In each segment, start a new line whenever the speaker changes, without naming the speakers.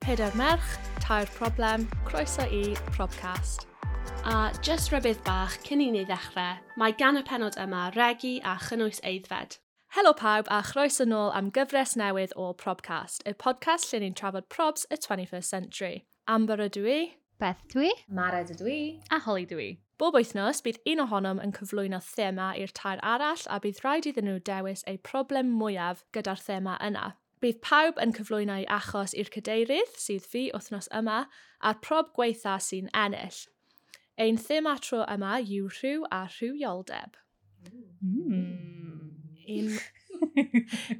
Pedair merch, tair problem, croeso i Probcast. A jyst rybydd bach cyn i ni ddechrau, mae gan y penod yma regi a chynnwys eiddfed. Helo pawb a chroeso nôl am gyfres newydd o Probcast, y podcast lle ni'n trafod probs y 21st century. Amber ydw i.
Beth dwi?
Mared ydw i.
A Holly dwi.
Bob wythnos bydd un ohonom yn cyflwyno thema i'r tair arall a bydd rhaid iddyn nhw dewis eu problem mwyaf gyda'r thema yna. Bydd pawb yn cyflwyno ei achos i'r cadeirydd sydd fi wythnos yma a'r prob gweitha sy'n ennill. Ein thema tro yma yw rhyw a rhywioldeb.
Mm,
Un,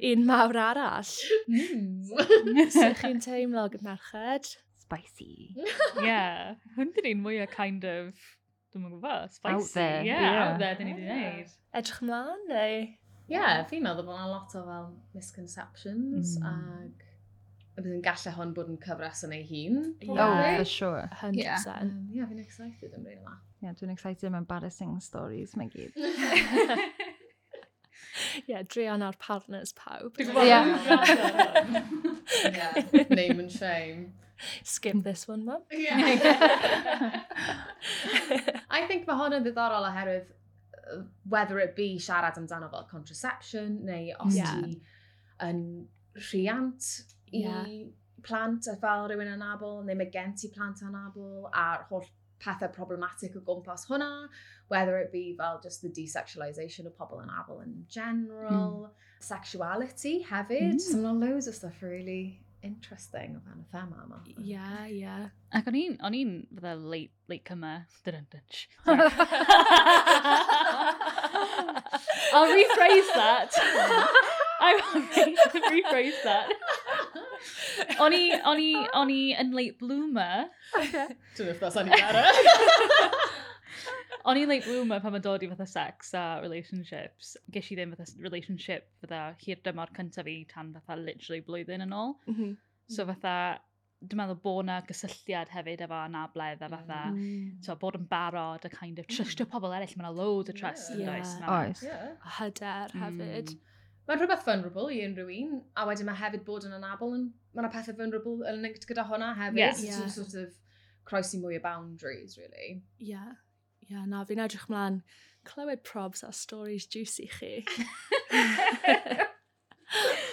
un mawr arall.
Hmm.
Sut chi'n teimlo gymrached?
Spicy.
yeah, hwn dyn ni'n mwy o kind of, dwi'n mwyn gwybod, spicy.
there,
Yeah,
yeah.
out there dyn ni wedi
Yeah.
gwneud.
Edrych ymlaen neu?
Ie, fi'n meddwl bod yna lot o fel misconceptions
Mm.
ag y bydd yn gallu hon bod yn cyfres yn ei hun.
Oh,
Oh,
Yeah.
for sure.
100%.
Um, Ie, fi'n excited am rhaid yma.
Yeah, dwi'n excited am embarrassing stories, mae gyd.
Ie, yeah, drian ar partners pawb.
Dwi'n gwybod,
Yeah.
dwi'n gwybod.
Ie, name and shame.
Skip this one, mum.
I think mae hwn yn ddiddorol oherwydd uh, whether it be siarad amdano fel contraception neu os
Ie.
ti yn rhiant i
Ie.
plant a fel rhywun anabol neu mae gen ti plant anabol a'r holl pethau problematic o gwmpas hwnna, whether it be fel just the desexualisation of pobl anabol in general, sexuality hefyd.
Mm.
So mae 'na loads of stuff really interesting o fan y thema yma.
Ie, yeah, ie. Yeah.
Ac o'n i'n, o'n i'n fydda late, late cyma. Dyn yn dynch. I'll rephrase that. I will re- rephrase that. O'n i, o'n i, o'n i yn late bloomer.
Dwi'n if that's any better.
O'n i'n late bloomer pan mae'n dod i fatha sex a relationships. Ges i ddim fatha s- relationship fatha hir dymor cyntaf fi tan fatha literally blwyddyn yn ôl.
Mhm.
So fatha, dwi'n meddwl bod na gysylltiad hefyd efo anabledd a fatha, so bod yn barod a kind of trustio pobl eraill. Mae yna loads o trust yn
Ie.
does. ma' 'na.
Oes.
Yeah.
Hyder hefyd.
Mm.
Mae'n rhywbeth vulnerable i unrhyw un, a wedyn mae hefyd bod yn anabol, yn, mae yna pethau vulnerable yn linked gyda hwnna hefyd.
Ie.
So
Ie.
ti'n sort of croesi mwy o boundaries, really.
Ie. Ie, na, fi'n edrych mlaen. Clywed probs a stories juicy chi.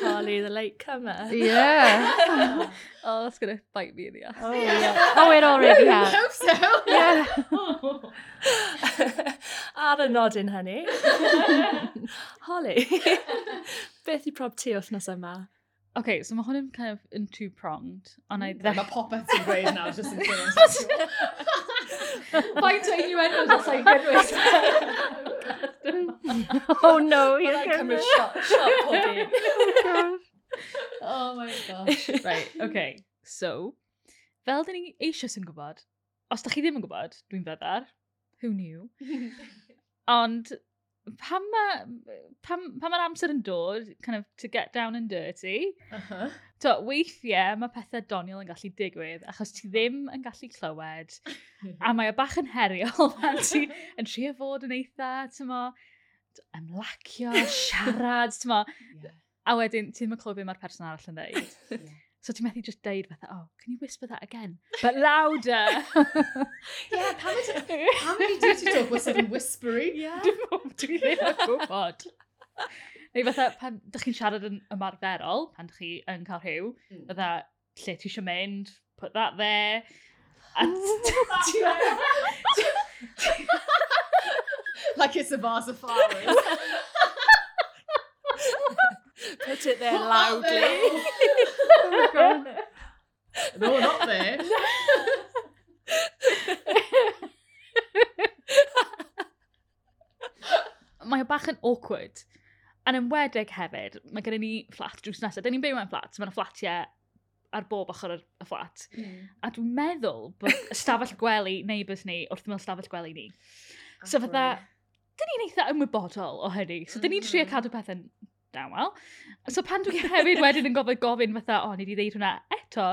Holly, the late comer.
Yeah.
Oh, that's gonna bite me in the ass.
Oh, yeah. Oh, it already
I
has.
hope so!
Yeah.
Ar y nodyn hynny. Holly, beth i prob ti wythnos yma?
Okay, so mae hwn yn kind of yn two-pronged. Ond I...
Mae popeth ti'n gweud nawr, just yn ffilm sexual. Faint o innuendos os i'n gynnwys.
Oh, no. You're gonna-
shot, shot pobi.
Oh,
Oh my gosh.
right, okay. So, fel dyn ni eisiau sy'n gwybod, os da chi ddim yn gwybod, dwi'n feddar, who knew? Ond, pan mae pan, pan ma amser yn dod, kind of, to get down and dirty,
Uh-huh.
to, weithiau mae pethau doniol yn gallu digwydd, achos ti ddim yn gallu clywed, a mae o bach yn heriol, pan ti yn trio fod yn eitha, tymo, ymlacio, siarad, tymo,
Ie.
a wedyn ti ddim yn clywed beth mae'r person arall yn dweud.
Ie.
So ti'n methu just deud fatha, oh, can you whisper that again? But louder!
Yeah, pam yd- pam ydi duty talk was sort of whispery? Yeah.
Dwi ddim yn gwybod. Neu fatha, pan dych chi'n siarad yn ymarferol, pan dych chi yn cael rhyw,
Mm.
fatha, lle ti eisiau mynd, put that there. A t-
like it's a vase of flowers.
Put it there
Not there.
loudly.
no, not there.
mae o bach yn awkward. A'n ymwedig hefyd, mae gen i ni fflat drws nesaf. Dyn ni'n byw mewn fflat, so mae yna fflatiau ar bob ochr y y fflat. A dwi'n meddwl bod stafell gwely neighbours ni wrth mewn stafell gwely ni. So fatha, dyn ni'n eitha ymwybodol o hynny. So dyn ni'n trio
Mhm.
cadw pethau'n dawel. So pan dwi hefyd wedyn yn gofod gofyn fatha, o, ni di ddeud hwnna eto,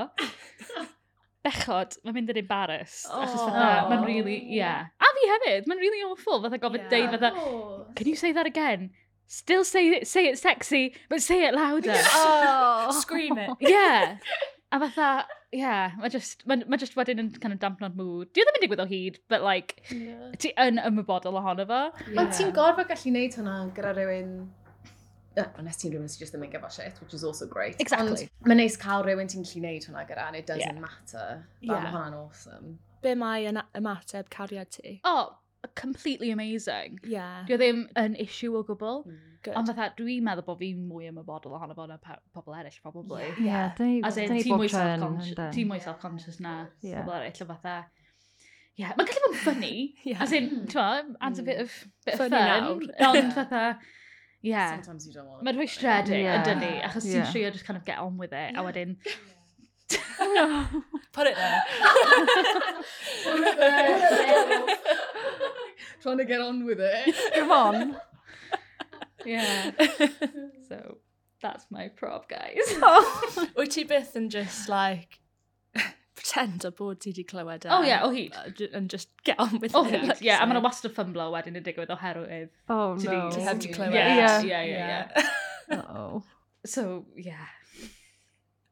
bechod, mae'n mynd yn embarrassed. Oh. Achos fatha,
Oh.
mae'n really, yeah. A fi hefyd, mae'n really awful, fatha gofod
Yeah.
deud fatha, can you say that again? Still say it, say it sexy, but say it louder.
Oh.
Scream it.
yeah. A fatha, ie, yeah, mae just, ma, ma just wedyn yn kind of dampno'r mood. Di o ddim yn digwydd o hyd, but like, ti yn ymwybodol ohono fo.
Ond ti'n gorfod gallu neud hwnna gyda rhywun... Yy, Unless ti'n rhywun sy'n just ddim yn gyfo shit, which is also great.
Exactly.
Ond mae'n neis cael rhywun ti'n gallu neud hwnna gyda, and it doesn't
Yeah.
matter.
Yeah.
Yeah. Mae hwnna'n awesome.
Be mae yn a- ymateb cariad ti?
Oh, completely amazing.
Yeah,
Di o ddim yn issue o gwbl.
good.
Ond fatha, dwi'n meddwl bod fi'n mwy ymwybodol ohono fo na pa- pobl eraill, probably.
Ie.
Yeah, they,
As in,
they
ti mwy
bob turn,
self-conscious,
and
ti
then-
mwy self-conscious na
Yeah.
pobl eraill, o fatha, yeah, mae'n gallu bod yn ffynnu,
Yeah.
as in, ti'n adds a
Mm.
bit of, bit of fun,
Funny nawr.
ond
Yeah.
fatha, yeah,
Sometimes you don't want
mae'n rhoi stredig
Yeah.
yn dynnu, achos ti'n
Yeah.
trio just kind of get on with it, a wedyn,
Put it there.
Trying to get on with it.
Come on.
yeah, so, that's my prob, guys.
Wyt ti byth yn just like pretend o bod ti wedi clywed e?
Oh yeah, o hyd.
Uh, ju- And just get on with
O
it.
hyd,
like you
yeah, a mae'n
say.
wastad ffymblo wedyn yn digwydd oherwydd.
Oh,
To do-
no.
Ti heb di clywed.
Yeah, yeah,
Yeah.
yeah, yeah.
Uh-oh.
So, yeah.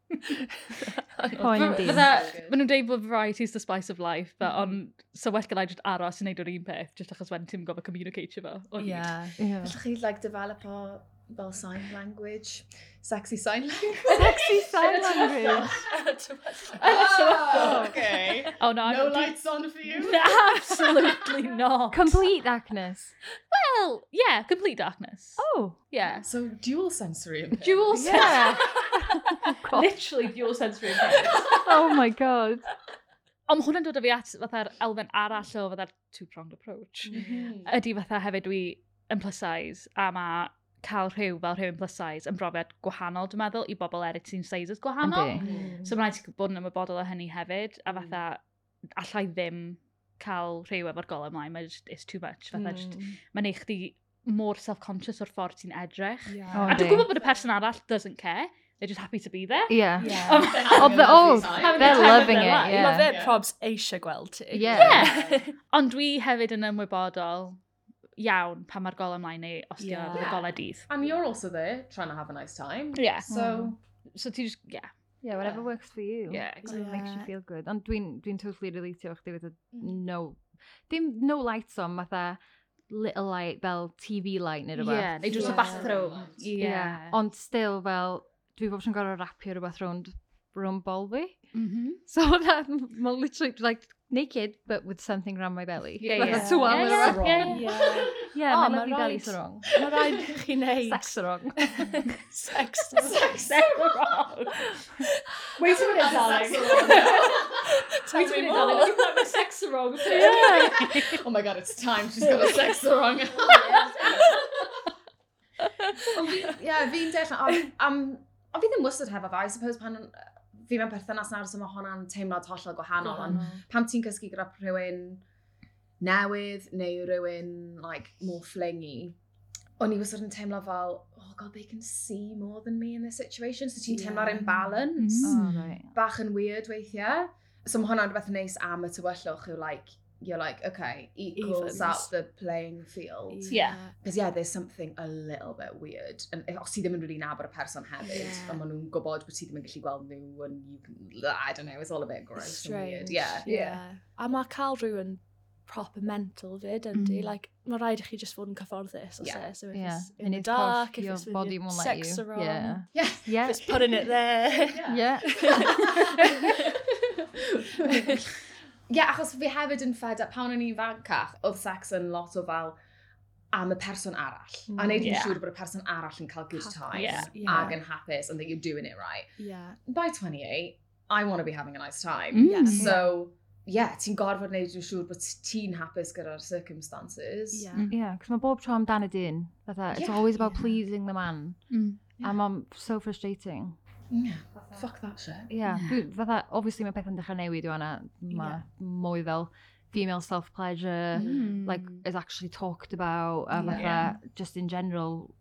Pointy.
Fydda, maen nhw'n deud bod variety is the spice of life, but on, so well gyda i just aros yn neud o'r un peth, just achos wedyn ti'n gofod communicatio fo. o hyd.
Yeah.
Yeah.
Allwch chi, like, develop o fel sign language, sexy sign language.
Sexy sign language.
Oh, okay.
Oh no,
No
I'm,
lights on for you.
No, absolutely not.
Complete darkness.
well, yeah, complete darkness.
Oh.
Yeah.
So, dual sensory impairment.
Dual sensory.
Yeah. God.
Literally dual sensory impairment.
Oh my god.
Ond ma' hwnna'n dod o fi at fatha'r elfen arall o fatha'r two-pronged approach.
Mm.
Mhm.
Ydy fatha hefyd dwi yn plus size a ma cael rhyw fel rhywun plus size yn brofiad gwahanol, dwi'n meddwl, i bobl eraill sy'n sizes gwahanol.
Yndi.
Mm.
So mae'n rhaid i ti bod yn ymwybodol o hynny hefyd, a
Hmm.
fatha, allai ddim cael rhyw efo'r golau ymlaen, mae just, it's too much. Fatha, mm. just,
Hmm.
mae'n eich di mor self-conscious o'r ffordd ti'n edrych.
Yeah.
A dwi'n
Yndi.
gwybod bod y person arall doesn't care, they're just happy to be there.
Yeah.
Yeah.
Um,
Of the old.
Having
They're
the time of
loving it.
their life.
Mae
Yeah.
fe probs eisiau gweld ti.
Yeah.
Ond dwi hefyd yn ymwybodol iawn pan mae'r golau ymlaen neu os yeah.
Yeah.
diwedd y golau dydd.
And you're also there trying to have a nice time.
Yeah.
So,
So ti just, yeah.
Yeah, whatever works for you.
Yeah,
It makes you
Yeah.
feel good. Ond dwi'n dwi totally relatio o'ch dweud
Mm.
no... Dim no lights on, matha little light fel TV light neu rhywbeth.
Yeah, neu just
Yeah.
a bathroom.
Yeah. Ond still fel, dwi bob yn gorau rapio rhywbeth rownd rhwng bol fi.
Mhm.
So that, mae'n literally like naked, but with something round my belly.
Yeah,
Fatha
yeah.
swal
Yeah,
yn
yeah.
rhywbeth.
Yeah. Yeah.
Yeah,
Oh,
mae'n
ma' Mm.
lovely belly
raid.
sarong.
Mae rhaid i chi wneud.
Sex sarong.
Sex.
Mm.
Wait a minute,
Tell me more.
You've got my sex wrong.
oh my god, it's time. She's got a sex wrong.
Oh,
yeah, fi'n deall. Um, ond fi ddim wastad hefo fe, I suppose pan fi mewn perthynas nawr, so mae hwnna'n teimlad hollol gwahanol. Ond pam ti'n cysgu gyda rhywun newydd neu rhywun like, more flingy, o'n i wastad yn teimlo fel, oh god, they can see more than me in this situation. So ti'n teimlo'r
Yeah.
imbalance.
Mm.
Oh, right.
bach yn weird weithiau. So mae hwnna'n rhywbeth neis am y tywyllwch yw like, you're like, okay, equals
Evens.
out the playing field. Because yeah, there's something a little bit weird. And if- os ti ddim yn rili nabod y person hefyd,
Yeah.
yeah. ond maen nhw'n gwybod bod ti ddim yn gallu gweld nhw, and you can, I don't know, it's all a bit gross and
Strange.
weird. Yeah.
yeah. A mae cael rhywun proper mental fyd, yndi?
Mm.
Like, mae rhaid i chi just fod yn cyfforddus, os
Yeah.
e? So if
Yeah.
it's in
And
the
if
dark, if
your
it's with
body
your
won't let
sex
you.
around,
Yeah.
Yeah.
Yeah.
just putting it there.
Yeah.
yeah, achos fi hefyd yn fed up, pan o'n i'n fancach, oedd sex yn lot o fel am y person arall. Mm, a
Mm.
wneud yn
Yeah.
siŵr bod y person arall yn cael good
Happy.
time
Yeah.
Yeah.
ag yn hapus and that you're doing it right.
Yeah.
By 28, I want to be having a nice time.
Mm.
Yes.
So, yeah, ti'n gorfod wneud yn siŵr bod ti'n hapus gyda'r circumstances.
Yeah.
Mm.
Yeah, because mae bob tro amdan y dyn. Fatha, it's
Yeah.
always about
Yeah.
pleasing the man.
Mm.
Yeah. A mae'n so frustrating.
yeah. Fuck that shit.
Yeah.
Yeah.
Dwi, fatha, obviously mae pethau'n dechrau newid yw anna. Mae
Yeah.
mwy fel female self-pleasure,
Mm.
like,
Mm.
is actually talked about. A fatha,
Yeah.
just in general,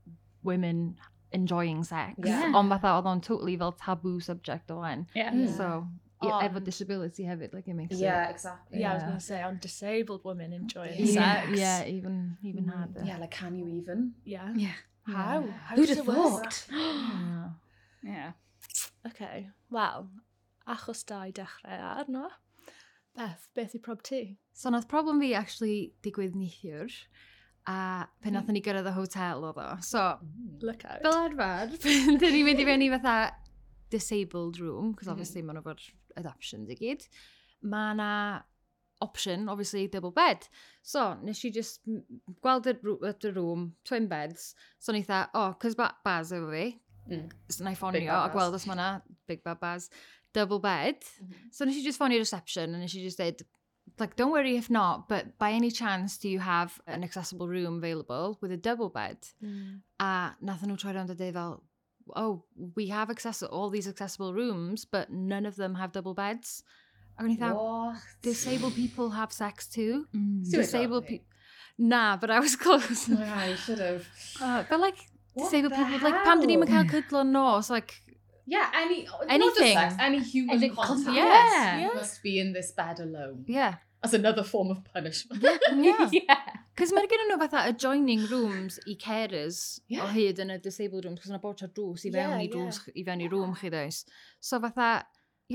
women enjoying sex.
Yeah.
Ond fatha, oedd o'n totally fel taboo subject o wen.
Yeah.
Yeah.
So, yeah, efo
Mm. Ond-
disability hefyd, like, it makes
Yeah,
it...
exactly.
Yeah, I was
Yeah.
going to say, on disabled women enjoying
Yeah.
sex.
Yeah, even, even
Mm.
harder.
Yeah, like, can you even?
Yeah.
Yeah.
How?
Yeah.
How
Who'd
does
have
it work?
thought?
Yeah.
yeah.
Okay, well, achos da i dechrau arno. Beth, beth i prob ti?
So nath problem fi actually digwydd neithiwr, a
Mm.
pe nath ni gyrraedd y hotel oedd o. So,
Mm.
Look out.
fel arfer, pan dyn ni'n mynd i fewn i fatha disabled room, because obviously mm. maen nhw fod adoptions i gyd, mae na option, obviously, double bed. So, nes i just m- gweld y, rw- y room, twin beds, so ni eitha, oh, cos ba Baz efo fi,
Mm.
so na i
Big Bad
ffonio a
Baz. Mm-hmm.
gweld os mae na Big Bad Baz double bed. So nes i just ffonio reception and nes i just did, like, don't worry if not, but by any chance do you have an accessible room available with a double bed?
Mm.
A nathon nhw troi rownd a dweud fel, oh, we have access all these accessible rooms, but none of them have double beds. A gwni thought,
What?
disabled people have sex too.
Do it,
Disabled
darling.
people... Nah, but I was close.
Nah, you should have.
Uh, but like,
What
disabled
the
people, like, pam dyn ni'n
hell?
cael cydlon nos, like,
Yeah, any anything,
Anything.
not just sex, any human
Any con-
contact.
yes,
You
yes.
must be in this bed alone
yeah.
as another form of punishment.
Yeah.
yeah.
Cos mae gen nhw fatha adjoining rooms i carers
Ie.
o hyd yn y disabled rooms, cos yna bod tra drws i fewn
Ie,
i
ie.
drws, i fewn i room chi dweud. So fatha,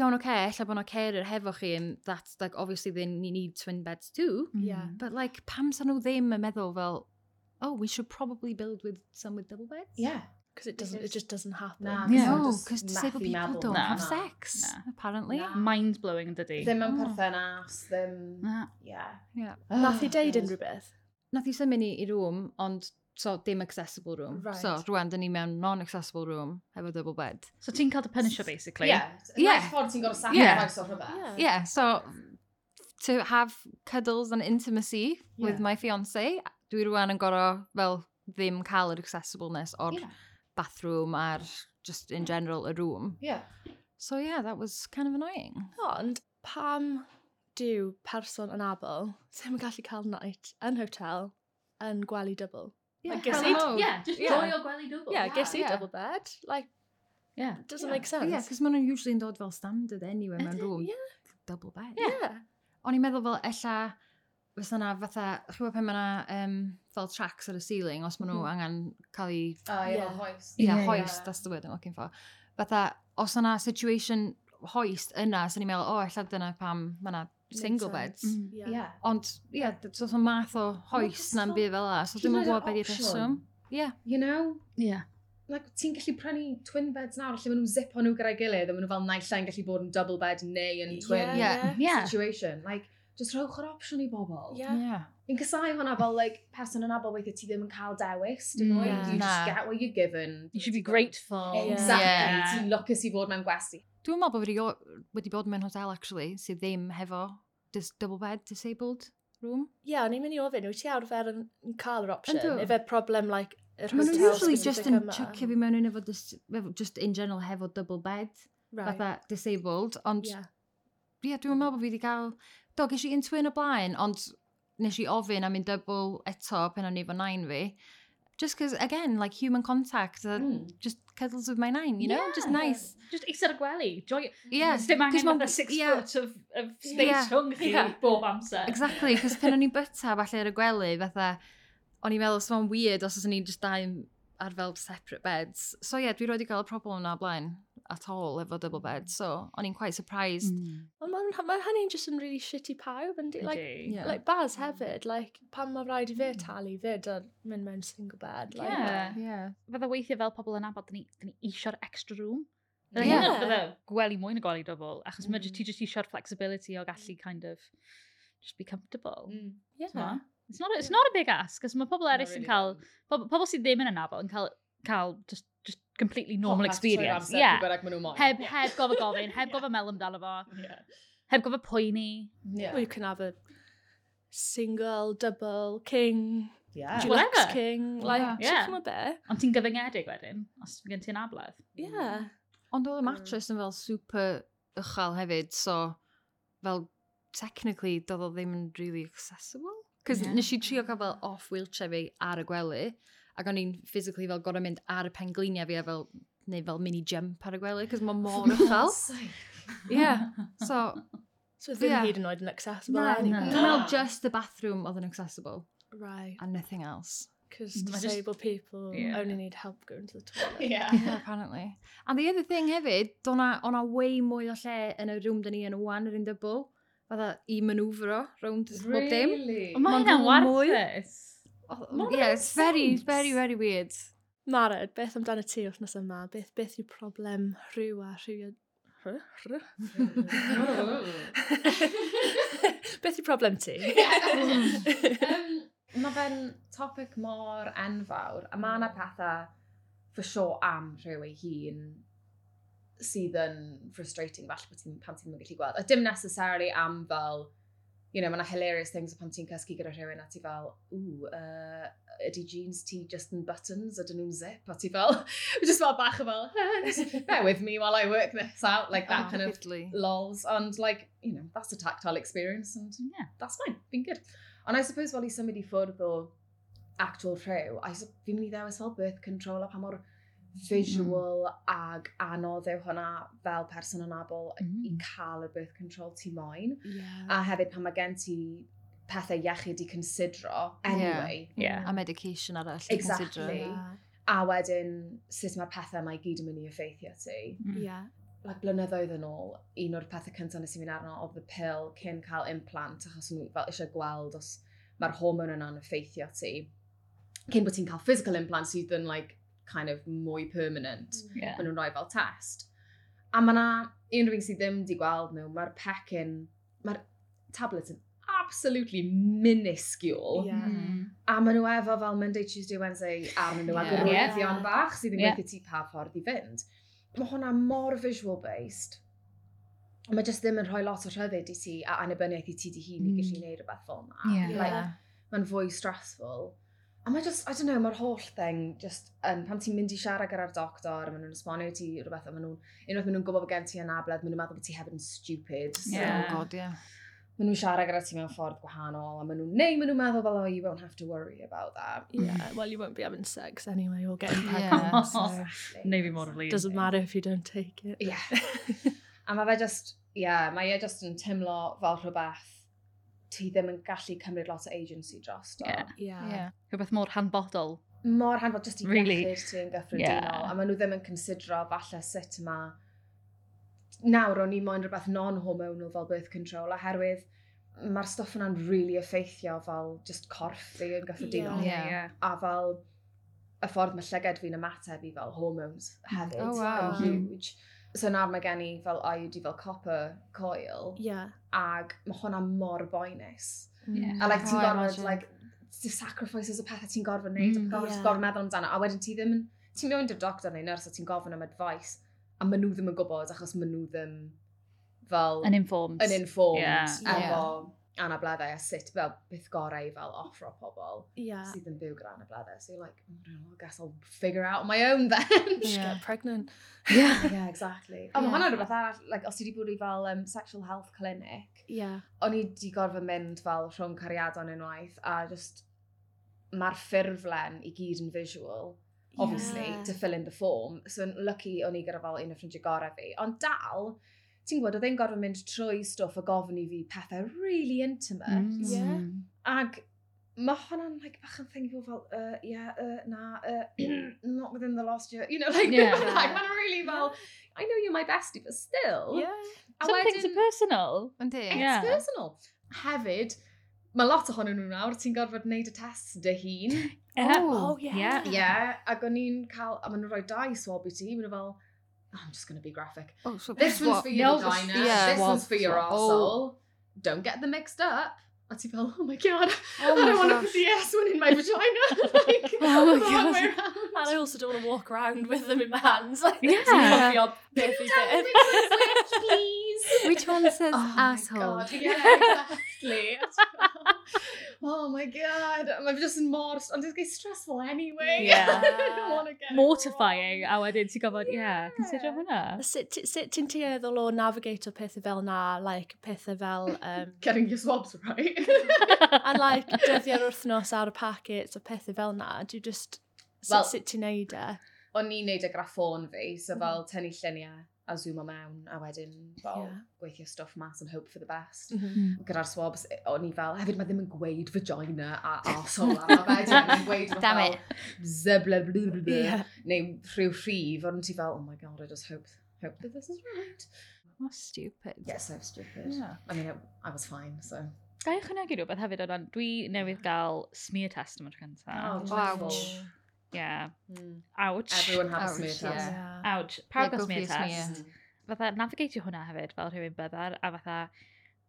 iawn oce, okay, lle bod yna carer hefo chi, and that's like, obviously they ne- need twin beds
Mm-hmm.
too.
Yeah.
But like, pam sa nhw ddim yn meddwl fel, oh, we should probably build with some with double beds?
Yeah.
Because it doesn't, it
Because-
just doesn't happen.
Nah,
Yeah.
I'm
No,
just
because
methu
disabled people
meddwl
don't
na.
have
hwnna.
sex,
Na.
apparently.
Na.
Mind blowing dydy.
Ddim yn
Oh.
perthynas, ddim...
Na.
Yeah.
Yeah.
Nath i
Oh,
deud
God.
unrhyw beth.
Nath i symud ni i room, ond so dim accessible room.
Right.
So rwan, dyn ni mewn non-accessible room hefo double bed.
So ti'n cael dy punisher basically.
Yeah.
Yeah.
Nice ffordd ti'n gorau
Yeah.
sacrifice o rhywbeth.
Yeah.
Yeah, so to have cuddles and intimacy with
Yeah.
my fiance, dwi rwan yn gorau fel ddim cael yr accessibleness o'r
Yeah.
bathroom a'r just in general y room.
Yeah.
So yeah, that was kind of annoying.
Ond pam dyw person yn abel ddim yn gallu cael night yn hotel yn gwely double?
Yeah,
Like, ges i-
hello.
Yeah, just
Yeah.
joy o gwely dwbl.
Yeah,
yeah,
ges i
yeah.
double bed. Like,
Yeah.
doesn't
Yeah.
make sense.
Yeah, cos maen nhw'n usually yn dod fel standard anyway mewn
Ydyn,
room.
ie.
Double bed.
Yeah.
O'n i'n meddwl fel ella fysa na fatha, chi'n gwybod pan mae na um, fel tracks ar y ceiling os maen nhw
Mhm.
Mm-hmm.
angen cael eu
Oh, yeah.
Yeah.
Hoist.
yeah,
Ie, ie.
hoist, that's the word I'm looking for. Fatha, os yna situation hoist yna, so ni'n meddwl, o, oh, ella dyna pam mae yna
Makes
single
sense.
beds.
Mm.
Yeah.
Yeah.
Ond, ie, yeah, sort of Mm-hmm. math o hoist
Wel,
na'n
so-
byd fel la, so
Hyd
dwi'n
yn oed
gwybod
yr
beth i'r
opsiwn.
rheswm. Ie,
"Oh, You know?
Yeah.
like, ti'n gallu prynu twin beds nawr, lle maen nhw zip o'n nhw gyda'i gilydd, a maen nhw fel naill ai'n gallu bod yn double bed neu yn twin
Yeah.
Yeah.
situation. Like, just rhowch yr opsiwn i bobl.
Yeah.
ie.
Fi'n casau hwnna fel, like, person yn abel weithio ti ddim yn cael dewis, dim
Mm,
mm,
yeah.
You
Na.
just get what you're given.
You should be grateful.
Exactly.
Yeah.
Yeah. Ti'n lwcus i fod mewn gwesti.
Dwi'n meddwl bod fi 'rioed wedi bod mewn hotel, actually, sydd ddim hefo dis double bed disabled room.
Yeah, o'n i'n mynd i ofyn, wyt ti arfer yn yn cael yr option?
Ydw.
Ife problem, like, yr
Maen
hotel
nhw usually just
specific
yn
yma?
chucio fi mewn un efo, dis- efo- just in general, hefo double bed,
Right.
fatha disabled, ond
Yeah.
Ie, yeah, dwi'n meddwl bod fi wedi cael... Do, ges i un twin o blaen, ond nes i ofyn am un double eto pen o'n i fo nain fi. Just cos, again, like human contact, uh,
Mm.
just cuddles with my nain, you know? Just
Yeah.
nice.
Just eistedd y gwely. Joy.
Yeah,
Dim angen
ma'n-
fatha six
yeah.
foot of, of space
Yeah.
rhwng chi
Yeah.
bob amser.
Exactly, cos pen o'n i'n byta falle ar y gwely, fatha, o'n i'n meddwl, sma'n weird os o'n i'n just dau yn- ar fel separate beds. So ie, yeah, dwi roed i gael y problem yna o blaen at all efo double bed, so o'n i'n quite surprised.
Mm.
Ond mae ma hynny'n just yn really shitty pawb, yn di? Like,
Ydy.
Yeah.
like Baz hefyd, like, pan mae rhaid i fe
Mm.
talu fyd o'n mynd mewn single bed. Like,
Yeah.
yeah.
Fydda weithio fel pobl yn abod, dyn ni, dyn ni isio'r extra room.
Ie.
Fydda yeah.
Yeah.
fydda gwely mwy na gwely dofol, achos mm.
Mm.
ti just isio'r flexibility o gallu kind of just be comfortable.
Mm.
yeah.
Yeah. It's not, a, it's not a big ask, cos mae pobl eraill yn cael, pobl, pobl sydd ddim yn anabod yn cael, cael just, just completely normal experience. Yeah. Heb, heb gofod gofyn, heb gofod mel amdano fo,
Yeah.
heb gofod poeni.
Yeah.
We can have a single, double, king,
Yeah.
Well,
deluxe
Whatever.
king. Like,
Yeah.
yeah.
Yeah.
chicken a bit.
Ond ti'n gyfyngedig wedyn, os gen ti'n abledd.
Yeah.
Ond oedd y
Mm.
mattress yn fel super uchel hefyd, so fel technically doedd o ddim yn really accessible. Cos
Ie.
yeah. nes i trio cael fel off wheelchair fi ar y gwely, ac o'n i'n physically fel gorau mynd ar y pengliniau fi a fel neu fel mini jump ar y gwely, cos mae mor uchel. yeah. So,
So ddim
Yeah.
hyd yn oed yn accessible.
na,
anyway.
dwi'n meddwl just the bathroom oedd yn accessible,
Right.
and nothing else.
Because
Ma' jyst-
disabled people
Yeah.
only need help going to the toilet.
Yeah.
Yeah, apparently. And the other thing hefyd, o'na, ona way mwy o lle yn y room dyn ni yn y wan yr un dybl, fatha i manwfro round bob dim.
Ond mae
Ma'n
hynna'n
mwy.
warthus.
Oh,
Ma'
yeah,
hwnna'n
it's very,
sense.
very, very weird.
Mared, beth amdano ti wrthnos yma? Beth, beth yw problem rhyw a rhyw... Rhy? Rhy? beth yw problem ti?
um, mae fe'n topic mor enfawr, a mae yna pethau for sure am rhyw ei hun sydd yn frustrating falle bod ti'n pan ti'n gallu gweld. A dim necessarily am fel, you know, mae yna hilarious things pan ti'n cysgu gyda rhywun a ti fel, ww, uh, ydy jeans ti just in buttons, ydyn nhw'n zip, a ti fel, just fel bach o fel, "Just bear with me while I work this out, like that
Oh,
kind of
fiddly.
lols, and like, you know, that's a tactile experience, and
Yeah.
that's fine, been good. And I suppose fel i symud i ffwrdd o actual rhyw, I sup- fi'n mynd i ddewis fel birth control a pa mor visual ag anodd yw hwnna fel person yn abol i
Mm.
cael y birth control ti moyn.
Yeah.
A hefyd pan mae gen ti pethau iechyd i considro anyway.
Yeah.
A medication arall. i
Exactly.
considero.
A wedyn sut mae pethau mae gyd yn mynd i effeithio ti.
Yeah.
like blynyddoedd yn ôl, un o'r pethau cyntaf nes i fynd arno oedd y pill cyn cael implant, achos nhw fel eisiau gweld os mae'r hormon yna'n effeithio ti. Cyn bod ti'n cael physical implant sydd yn like, kind of mwy permanent,
Yeah.
maen nhw'n rhoi fel test. A mae yna unrhyw un sydd ddim wedi gweld nhw, mae'r pecyn, mae'r tablet yn absolutely minuscule.
Yeah.
Mm.
A maen nhw efo fel Monday, Tuesday, Wednesday arnyn nhw
Ie.
yeah. agorwyddion
Ie.
yeah. bach sydd yn
Ie.
yeah. gweithio ti pa ffordd i fynd. Mae hwnna mor visual based. Mae jyst ddim yn rhoi lot o rhyddid i ti a annibyniaeth i ti di hun i
Mm.
gallu gwneud rhywbeth fel yna.
Ie.
Like,
Ah, Yeah.
Mae'n fwy stressful. A mae just, I don't know, mae'r holl thing, just, um, pan ti'n mynd i siarad gyda'r doctor, a maen nhw'n esbonio i ti rhywbeth, a maen nhw'n, unwaith maen nhw'n gwybod bod gen ti anabledd, maen nhw'n meddwl bod ti hefyd yn stupid. So,
Ie.
Oh god, yeah.
Maen nhw'n siarad gyda ti mewn ffordd gwahanol, a maen nhw'n, neu maen nhw'n meddwl fel, oh, you won't have to worry about that.
Yeah, well, you won't be having sex anyway or getting pregnant,
Yeah.
Oh,
so
Neu fi mor
it
flin.
doesn't matter if you don't take it.
Yeah. a mae fe just, yeah, mae e just yn teimlo fel rhywbeth ti ddim yn gallu cymryd lot o agency dros do.
Yeah.
Yeah.
Yeah.
Rhywbeth mor hanfodol.
Mor hanfod just i
Really.
really? ti yn gyffredinol,
Yeah.
a maen nhw ddim yn considro falle sut mae nawr o'n i moyn rhywbeth non-hormonal fel birth control, oherwydd mae'r stwff yna'n really effeithio fel just corff fi yn gyffredinol.
Yeah.
A fel y ffordd mae llyged fi'n ymateb i fel hormones hefyd
Oh, wow.
yn huge. So nawr mae gen i fel IUD fel copper coil,
Yeah.
ag mae hwnna mor boenus.
Yeah.
Mm.
A like, ti'n
Oh, I
gorfod,
imagine.
like, the sacrifices y pethau ti'n gorfod wneud,
Mm.
mm, gorfod,
Ie.
gorfod meddwl amdano, a wedyn ti ddim yn, ti'n mynd i'r doctor neu nyrs a ti'n gofyn am advice, a maen nhw ddim yn gwybod achos maen nhw ddim fel
Yn informed.
yn informed
Ie.
efo anableddau a sut fel byth gorau fel offro pobl
Yeah.
sydd yn byw gyda anableddau. So you're like, oh, I don't know, I guess I'll figure out on my own then.
Just
Yeah.
get pregnant.
yeah, exactly. A
Ie.
mae hwnna'n rhywbeth arall, like, os ti wedi bod i fel um, sexual health clinic,
Yeah.
o'n i wedi gorfod mynd fel rhwng cariadon unwaith, a just mae'r ffurflen i gyd yn visual, obviously,
Yeah.
to fill in the form. So yn lucky o'n i gyda fel un o ffrindiau gorau fi. Ond dal, ti'n gwybod, oedd e'n gorfod mynd trwy stwff a gofyn i fi pethau really intimate.
Mm.
Yeah.
Ac mae hwnna'n like, bach yn thing i fod fel, uh, yeah, uh, na, uh, not within the last year. You know, like,
Yeah.
yeah. like mae'n really fel, I know you're my bestie, but still.
Yeah.
A
Some things
wedyn-
are personal.
Yndi?
It's
Yeah.
personal. Hefyd, mae lot ohonyn nhw nawr, ti'n gorfod wneud y tests dy hun.
Oh, yeah.
Yeah.
Ie, yeah, ac o'n i'n cael, a maen nhw'n rhoi dau swab i ti, maen nhw fel, oh, I'm just going to be graphic.
Oh, so
This one's
what-
for your
no,
vagina,
yeah.
this one's for your
Oh.
arsehole. Don't get them mixed up. A ti fel, oh my god,
Oh
I
my
don't want to
gosh.
put the S one in my vagina. like,
Oh my
the wrong way
God.
around.
And I also don't want to walk around with them in my hands. Like, yeah.
Yeah.
Don't mix the switch, please.
Which one says
Oh my
asshole?
God, Yeah, exactly. oh my god. Mae fi just yn mor... Ond it's getting stressful anyway.
Yeah.
I don't want to get it
Mortifying.
wrong.
A wedyn ti'n gofod, yeah, consider hwnna.
Sut ti- sut ti'n tueddol o navigator pethau fel na, like pethau fel, um,
Getting your swabs right.
and like dyddiau'r wrthnos ar y packets a pethau fel na, do you just, sut,
Wel-
sut ti'n neud e?
O'n i'n neud y graffon fi, so fel tynnu lluniau. a zoom o mewn a wedyn fel
Ie.
gweithio stuff mas and hope for the best.
Mhm.
Gyda'r swabs, e, o'n i fel, hefyd mae ddim yn gweud vagina a arsehole a ma' fe ddim yn gweud
Damn
fel ze bla bla bla bla
Ie.
neu rhyw rhif, o'n ti fel, oh my god, I just hope, hope that this is right.
Oh, stupid.
Yes, so stupid.
Yeah.
I mean, I, I was fine, so.
Ga i ychwanegu rhywbeth hefyd o'n dwi newydd gael smear test yma'r cyntaf.
Oh,
Ouch.
awful.
Yeah.
Mm.
Ouch.
Everyone have
Ouch,
a Hmm. smear
yeah.
test.
Ouch. Pawb
Like, go
gael
for
smear
your smear.
test. fatha navigatio hwnna hefyd fel rhywun byddar a fatha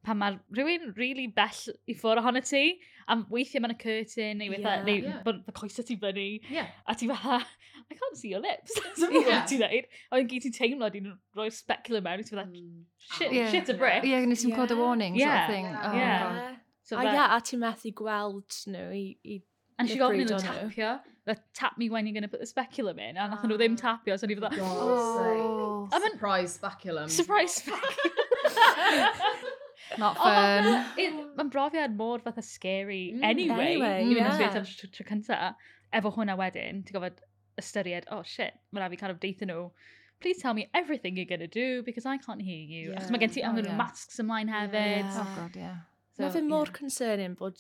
pan mae rhywun really bell i ffwrdd ohono ti a weithiau mae'n y curtain neu fatha
Ie.
yeah, neu
Ie.
yeah. bod y coesau ti fyny
Yeah.
a ti fatha I can't see your lips so yeah.
Ie.
beth ti'n dweud a wedyn gyd ti'n teimlo di'n rhoi speculum mewn i ti fatha
Mm. Hmm.
shit,
Yeah.
shit a brick
Yeah, nes i'n cod
Yeah.
a warning sort
Yeah.
of thing.
Yeah.
Oh,
Yeah.
God.
so
A
fe-
ia, a ti methu gweld nhw i... i...
a nes i gofyn iddyn nhw
Bryd o'n nhw.
tapio the tap me when you're going to put the speculum in a nath nhw ddim tapio so ni fatha
Oh,
I'm an
Surprise speculum.
surprise speculum
Oh
not
Oh,
fun.
ma- it- Mae'n brofiad mor fatha scary
Mm,
anyway.
anyway,
Even os
ie.
yeah. tr tr cynta. Efo hwnna wedyn, ti'n gofod ystyried, oh shit, mae'n rhaid i kind of deitha nhw. Please tell me everything you're going to do because I can't hear you.
Ie.
Achos mae gen ti
Oh,
angen
ie.
masks ymlaen hefyd.
Ie.
oh, God, yeah.
So, Mae fe mor
ie.
concerning bod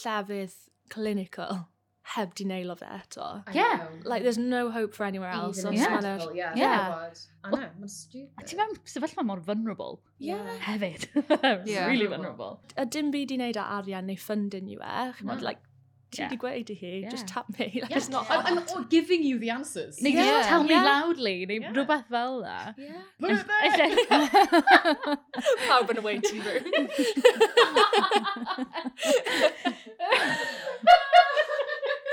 llefydd clinical heb di neilo fe eto.
Yeah.
Like, there's no hope for anywhere else.
Even
Os
in
ma' 'na-
hospital, yeah.
Yeah.
yeah. I know, mae'n stupid.
A ti'n mewn sefyllfa mor vulnerable
Yeah.
hefyd.
Ie.
really vulnerable.
A dim byd i wneud â arian neu funding yw e. Chymod,
Na.
like, ti
Ie.
di gweud i hi, just
Ie.
tap me. Like,
Yeah.
It's not...
I'm, I'm all giving you the answers.
Neu
Ie.
yeah. tell me
Ie.
loudly, neu
Ie.
rhywbeth fel na.
Yeah.
Put it there.
Pawb yn y waiting room.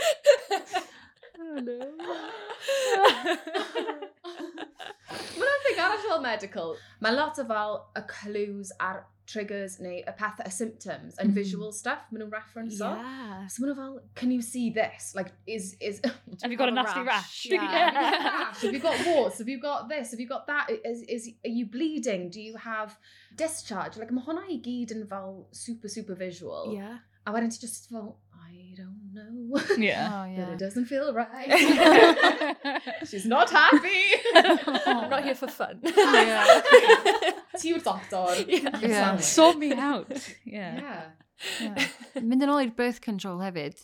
Mae'n thing arall fel medical. Mae lot o fel y clues a'r triggers neu y pethau, y symptoms and
Mhm.
visual stuff maen nhw'n reference o.
Yeah.
So maen nhw fel, can you see this? Like, is... is
Have you got
Have a
a nasty
rash.
rash?
Yeah.
rash? Have you got warts? Have you got this? Have you got that? Is, is, are you bleeding? Do you have discharge? Like, mae hwnna i gyd yn fel super, super visual.
Yeah.
A wedyn ti just fel, I don't know.
Yeah.
Oh,
But
yeah.
it doesn't feel right. She's not happy.
I'm not here for fun.
yeah.
Ti yw'r doctor.
Yeah.
Yeah.
Sort me out. Yeah.
Yeah.
yeah. Mynd yn ôl i'r birth control hefyd,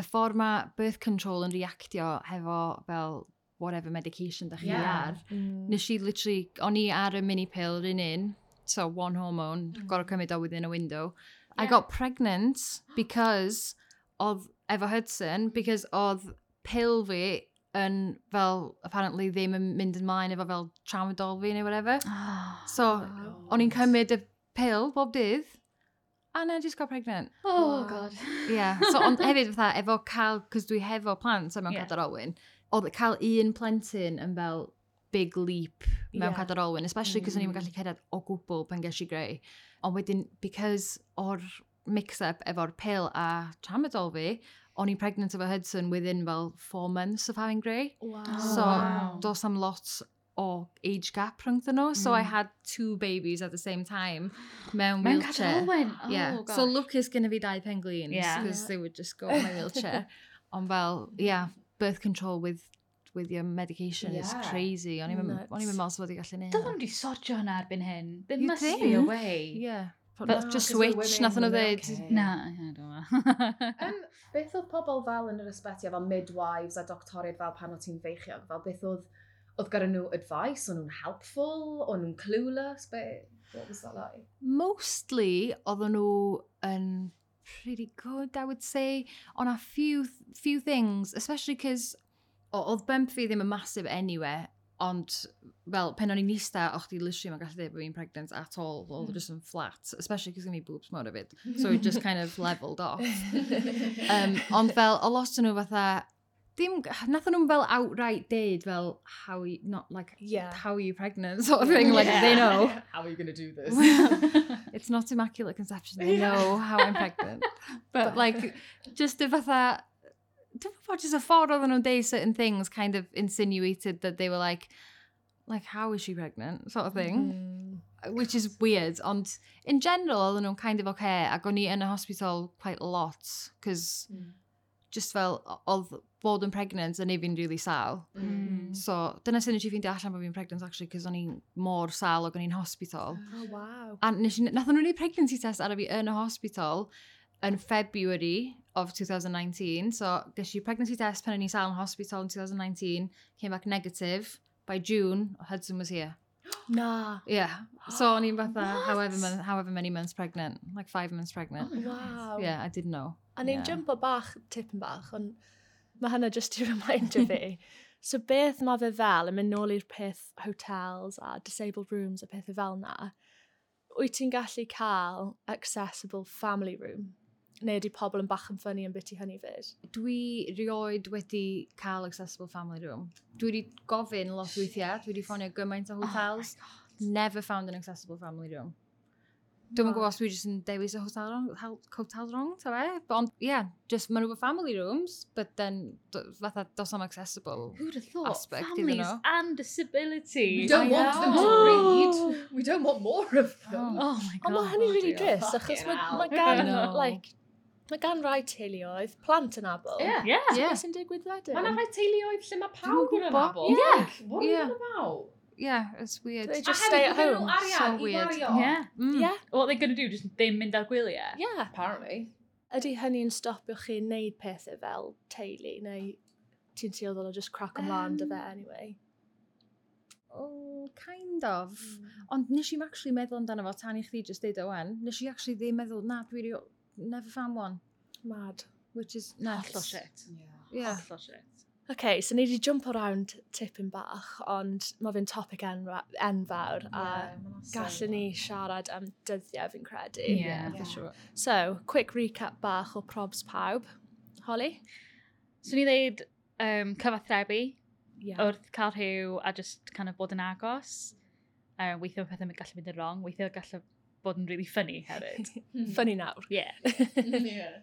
y ffordd mae birth control yn reactio hefo fel whatever medication da chi
Ie.
yeah. ar,
Oh,
nes i literally, o'n i ar y mini pill yr un un, so one hormone, mm. gorau cymryd o within a window. I got pregnant because of Eva Hudson, because oedd pill fi yn fel, apparently ddim yn mynd ymlaen efo fel tramadol fi neu whatever.
Ah,
So,
Oh,
o'n i'n cymryd y pill bob dydd, and I just got pregnant.
Oh, God.
Yeah, so ond hefyd fatha, efo cael, cos dwi hefo plant a mewn
Ie.
yeah. cadar olwyn, oedd cael un plentyn yn fel big leap
Ie.
mewn yeah. cadar olwyn, especially cos o'n i'n
Mm.
gallu cedad o gwbl pan ges i greu. Ond wedyn, because o'r mix-up efo'r pill a tramadol fi, o'n i'n pregnant efo Hudson within fel four months of having grey.
Wow.
So,
Oh, wow.
does am lot o age gap rhwngth nhw, so I
Mm.
had two babies at the same time mewn
Mewn
wheelchair.
cadar Olwen. Oh,
yeah.
gosh.
So Lucas going to be dau pen gleans
Yeah.
because
Yeah.
they would just go on my wheelchair. Ond fel, yeah, birth control with with your medication is
Yeah.
crazy. O'n i'n
Nuts.
meddwl bod i gallu neud.
Dylan wedi sodio hwnna erbyn hyn. There
You
must
think?
be a way.
Yeah.
But-
just
No, Oh, 'cause we're
switch, e,
women,
nath nhw
we're
ddweud.
okay.
Na, I don't know. Um,
Yym, beth oedd pobl fel yn yr ysbyty fel midwives a doctoriad fel pan oedd ti'n feichiog? Fel beth oedd, oedd gyda nhw advice? O'n nhw'n helpful? O'n nhw'n clueless? Be, what was that like?
Mostly, oedden nhw yn pretty good, I would say, on a few few things, especially because oedd bump fi ddim yn massive anyway, ond fel pen o'n i'n nista, o'ch di literally mae'n gallu dweud bod fi'n pregnant at all, oedd mm. just yn flat, especially because mi boobs mor of it, so it just kind of levelled off. Um, ond fel, o lot o'n nhw fatha, dim, nath nhw'n fel outright deud fel, how you, not like,
Yeah.
how are you pregnant, sort of thing, like they know.
How are you going to do this? Mm.
it's not immaculate conception. They
Yeah.
know how I'm pregnant. but like, just y fatha, dwi'n gwybod, just y ffordd oedden nhw'n deud certain things kind of insinuated that they were like, like, how is she pregnant, sort of thing,
Mm.
which is weird. Ond in general, oedden nhw'n kind of okay, ac o'n i yn y hospital quite a lot, because
Mm.
just fel o- oedd bod yn pregnant yn even really sal.
Mm.
So, dyna sy'n nes i ffeindio allan bod fi'n pregnant, actually, cos o'n i'n mor sal ac o'n i'n hospital.
Oh, wow.
A nes i, nath nhw'n gwneud pregnancy test ar y fi yn y hospital yn February of 2019. So, ges i pregnancy test pan o'n i'n sal yn hospital in 2019, came back negative. By June, Hudson was here.
Na.
Yeah. So, o'n i'n fatha,
What?
however, mon- however many months pregnant, like five months pregnant.
Wow.
yeah, I didn't know.
Oh A ni'n
Yeah.
jumpo bach, tipyn bach, ond mae hynna just i remindio fi. So beth mae fe fel yn mynd nôl i'r peth hotels a disabled rooms a pethau fel na, wyt ti'n gallu cael accessible family room? Neu ydy pobl yn bach yn ffynnu yn biti hynny fyd?
dwi rioed wedi cael accessible family room. Dwi wedi gofyn lot weithiau, dwi wedi ffonio gymaint o
Oh
hotels. never found an accessible family room. Dwi'n
Wow.
gwybod os dwi jyst yn dewis y hotel wrong, hel- hotel wrong, ta fe? But Ond, yeah, just maen nhw efo family rooms, but then, do- fatha, dos am accessible.
Who'd have thought?
Aspect, didn't
Families
know.
and
We
disability.
don't
I
want them
know.
to read. We don't want more of them.
Oh
Oh.
my god.
Ond mae hynny'n really
dear.
dris, achos mae
Fucking
ma
hell.
gan,
I know.
like, mae gan rai teuluoedd plant yn abl.
Yeah.
Yeah.
Yeah,
Beth sy'n digwydd wedyn?
Mae yna rhai teuluoedd lle mae pawb yn
gwybod.
anabol.
Yeah.
Like, What are you
Yeah.
on about?
yeah, it's weird.
They just stay at home.
so
Arian, so
weird.
weird.
Yeah.
Mm.
Yeah,
What they're going to do, just ddim mynd ar gwyliau.
yeah.
Apparently.
Ydy hynny'n stopio chi wneud pethau fel teulu, neu ti'n teimlo o just crack ymlaen um, dy
Yym.
fe anyway?
Oh, kind of.
Mm.
Ond nes i'm actually meddwl amdano fo tan i chdi just deud o wan. Nes i actually ddim meddwl, na, dwi rio- never found one.
Mad.
Which is nuts.
Hollol shit.
Yeah.
Hollol shit.
OK, so ni wedi jump o round tipyn bach, ond mae fe'n topic enra- enfawr, a gallwn ni siarad am dyddiau fi'n credu.
Yeah.
Yeah.
sure.
So, quick recap bach o probs pawb. Holly?
So ni ddeud um, cyfathrebu
Oh,
Yeah.
wrth cael rhyw a just kind of bod yn agos. Uh, weithio mae pethau yn gallu mynd yn wrong, weithio gallu bod yn really funny hefyd.
Hmm.
Mm-hmm.
Funny nawr.
yeah.
Yeah.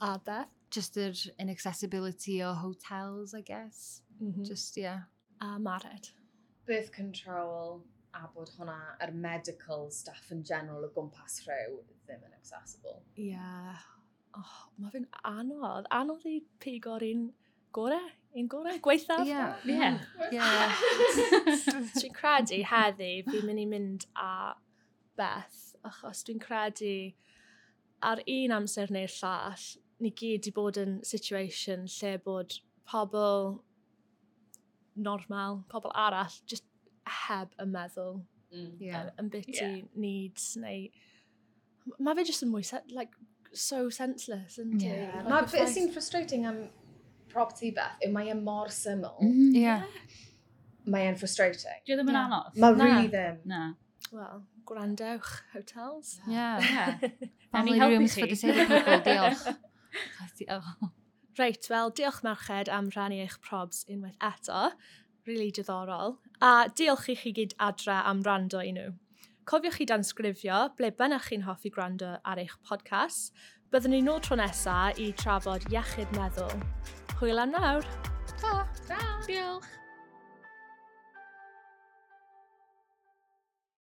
a Beth?
Just yr inaccessibility o hotels, I guess.
Mm
Just, yeah.
A Mared?
birth control a bod hwnna, yr medical staff yn general o gwmpas rhyw ddim yn accessible.
Yeah. Oh, mae fe'n anodd. Anodd i pigo'r un gorau? Un gorau? Gweithaf?
Yeah. Hmm.
Yeah.
Yeah.
Dwi'n credu heddi fi'n mynd i mynd a Beth, achos dwi'n credu ar un amser neu'r llall, ni gyd i bod yn situation lle bod pobl normal, pobl arall, just heb y meddwl
Mm.
yeah.
yn biti
Yeah.
needs neu... Mae fe just yn mwy, se- like, so senseless, yn ti?
Yeah.
Like,
Mae
y
beth
ffaith-
sy'n frustrating am property beth yw mae e mor syml.
Mm-hmm.
Yeah.
Mae e'n frustrating.
Dwi ddim yn
Na.
anodd.
Mae
Na.
really ddim.
Na.
Wel, gwrandewch, hotels.
Yeah.
Yeah.
Family
helpu
rooms
chi.
for disabled people, diolch. Oh. Diolch.
Reit, wel, diolch merched am rannu eich probs unwaith eto. Really diddorol. A diolch i chi gyd adra am rando i nhw. Cofiwch i dansgrifio ble bynnag chi'n hoffi gwrando ar eich podcast. Byddwn ni'n ôl tro nesaf i trafod iechyd meddwl. Hwyl am nawr!
Ta.
Ta!
Diolch.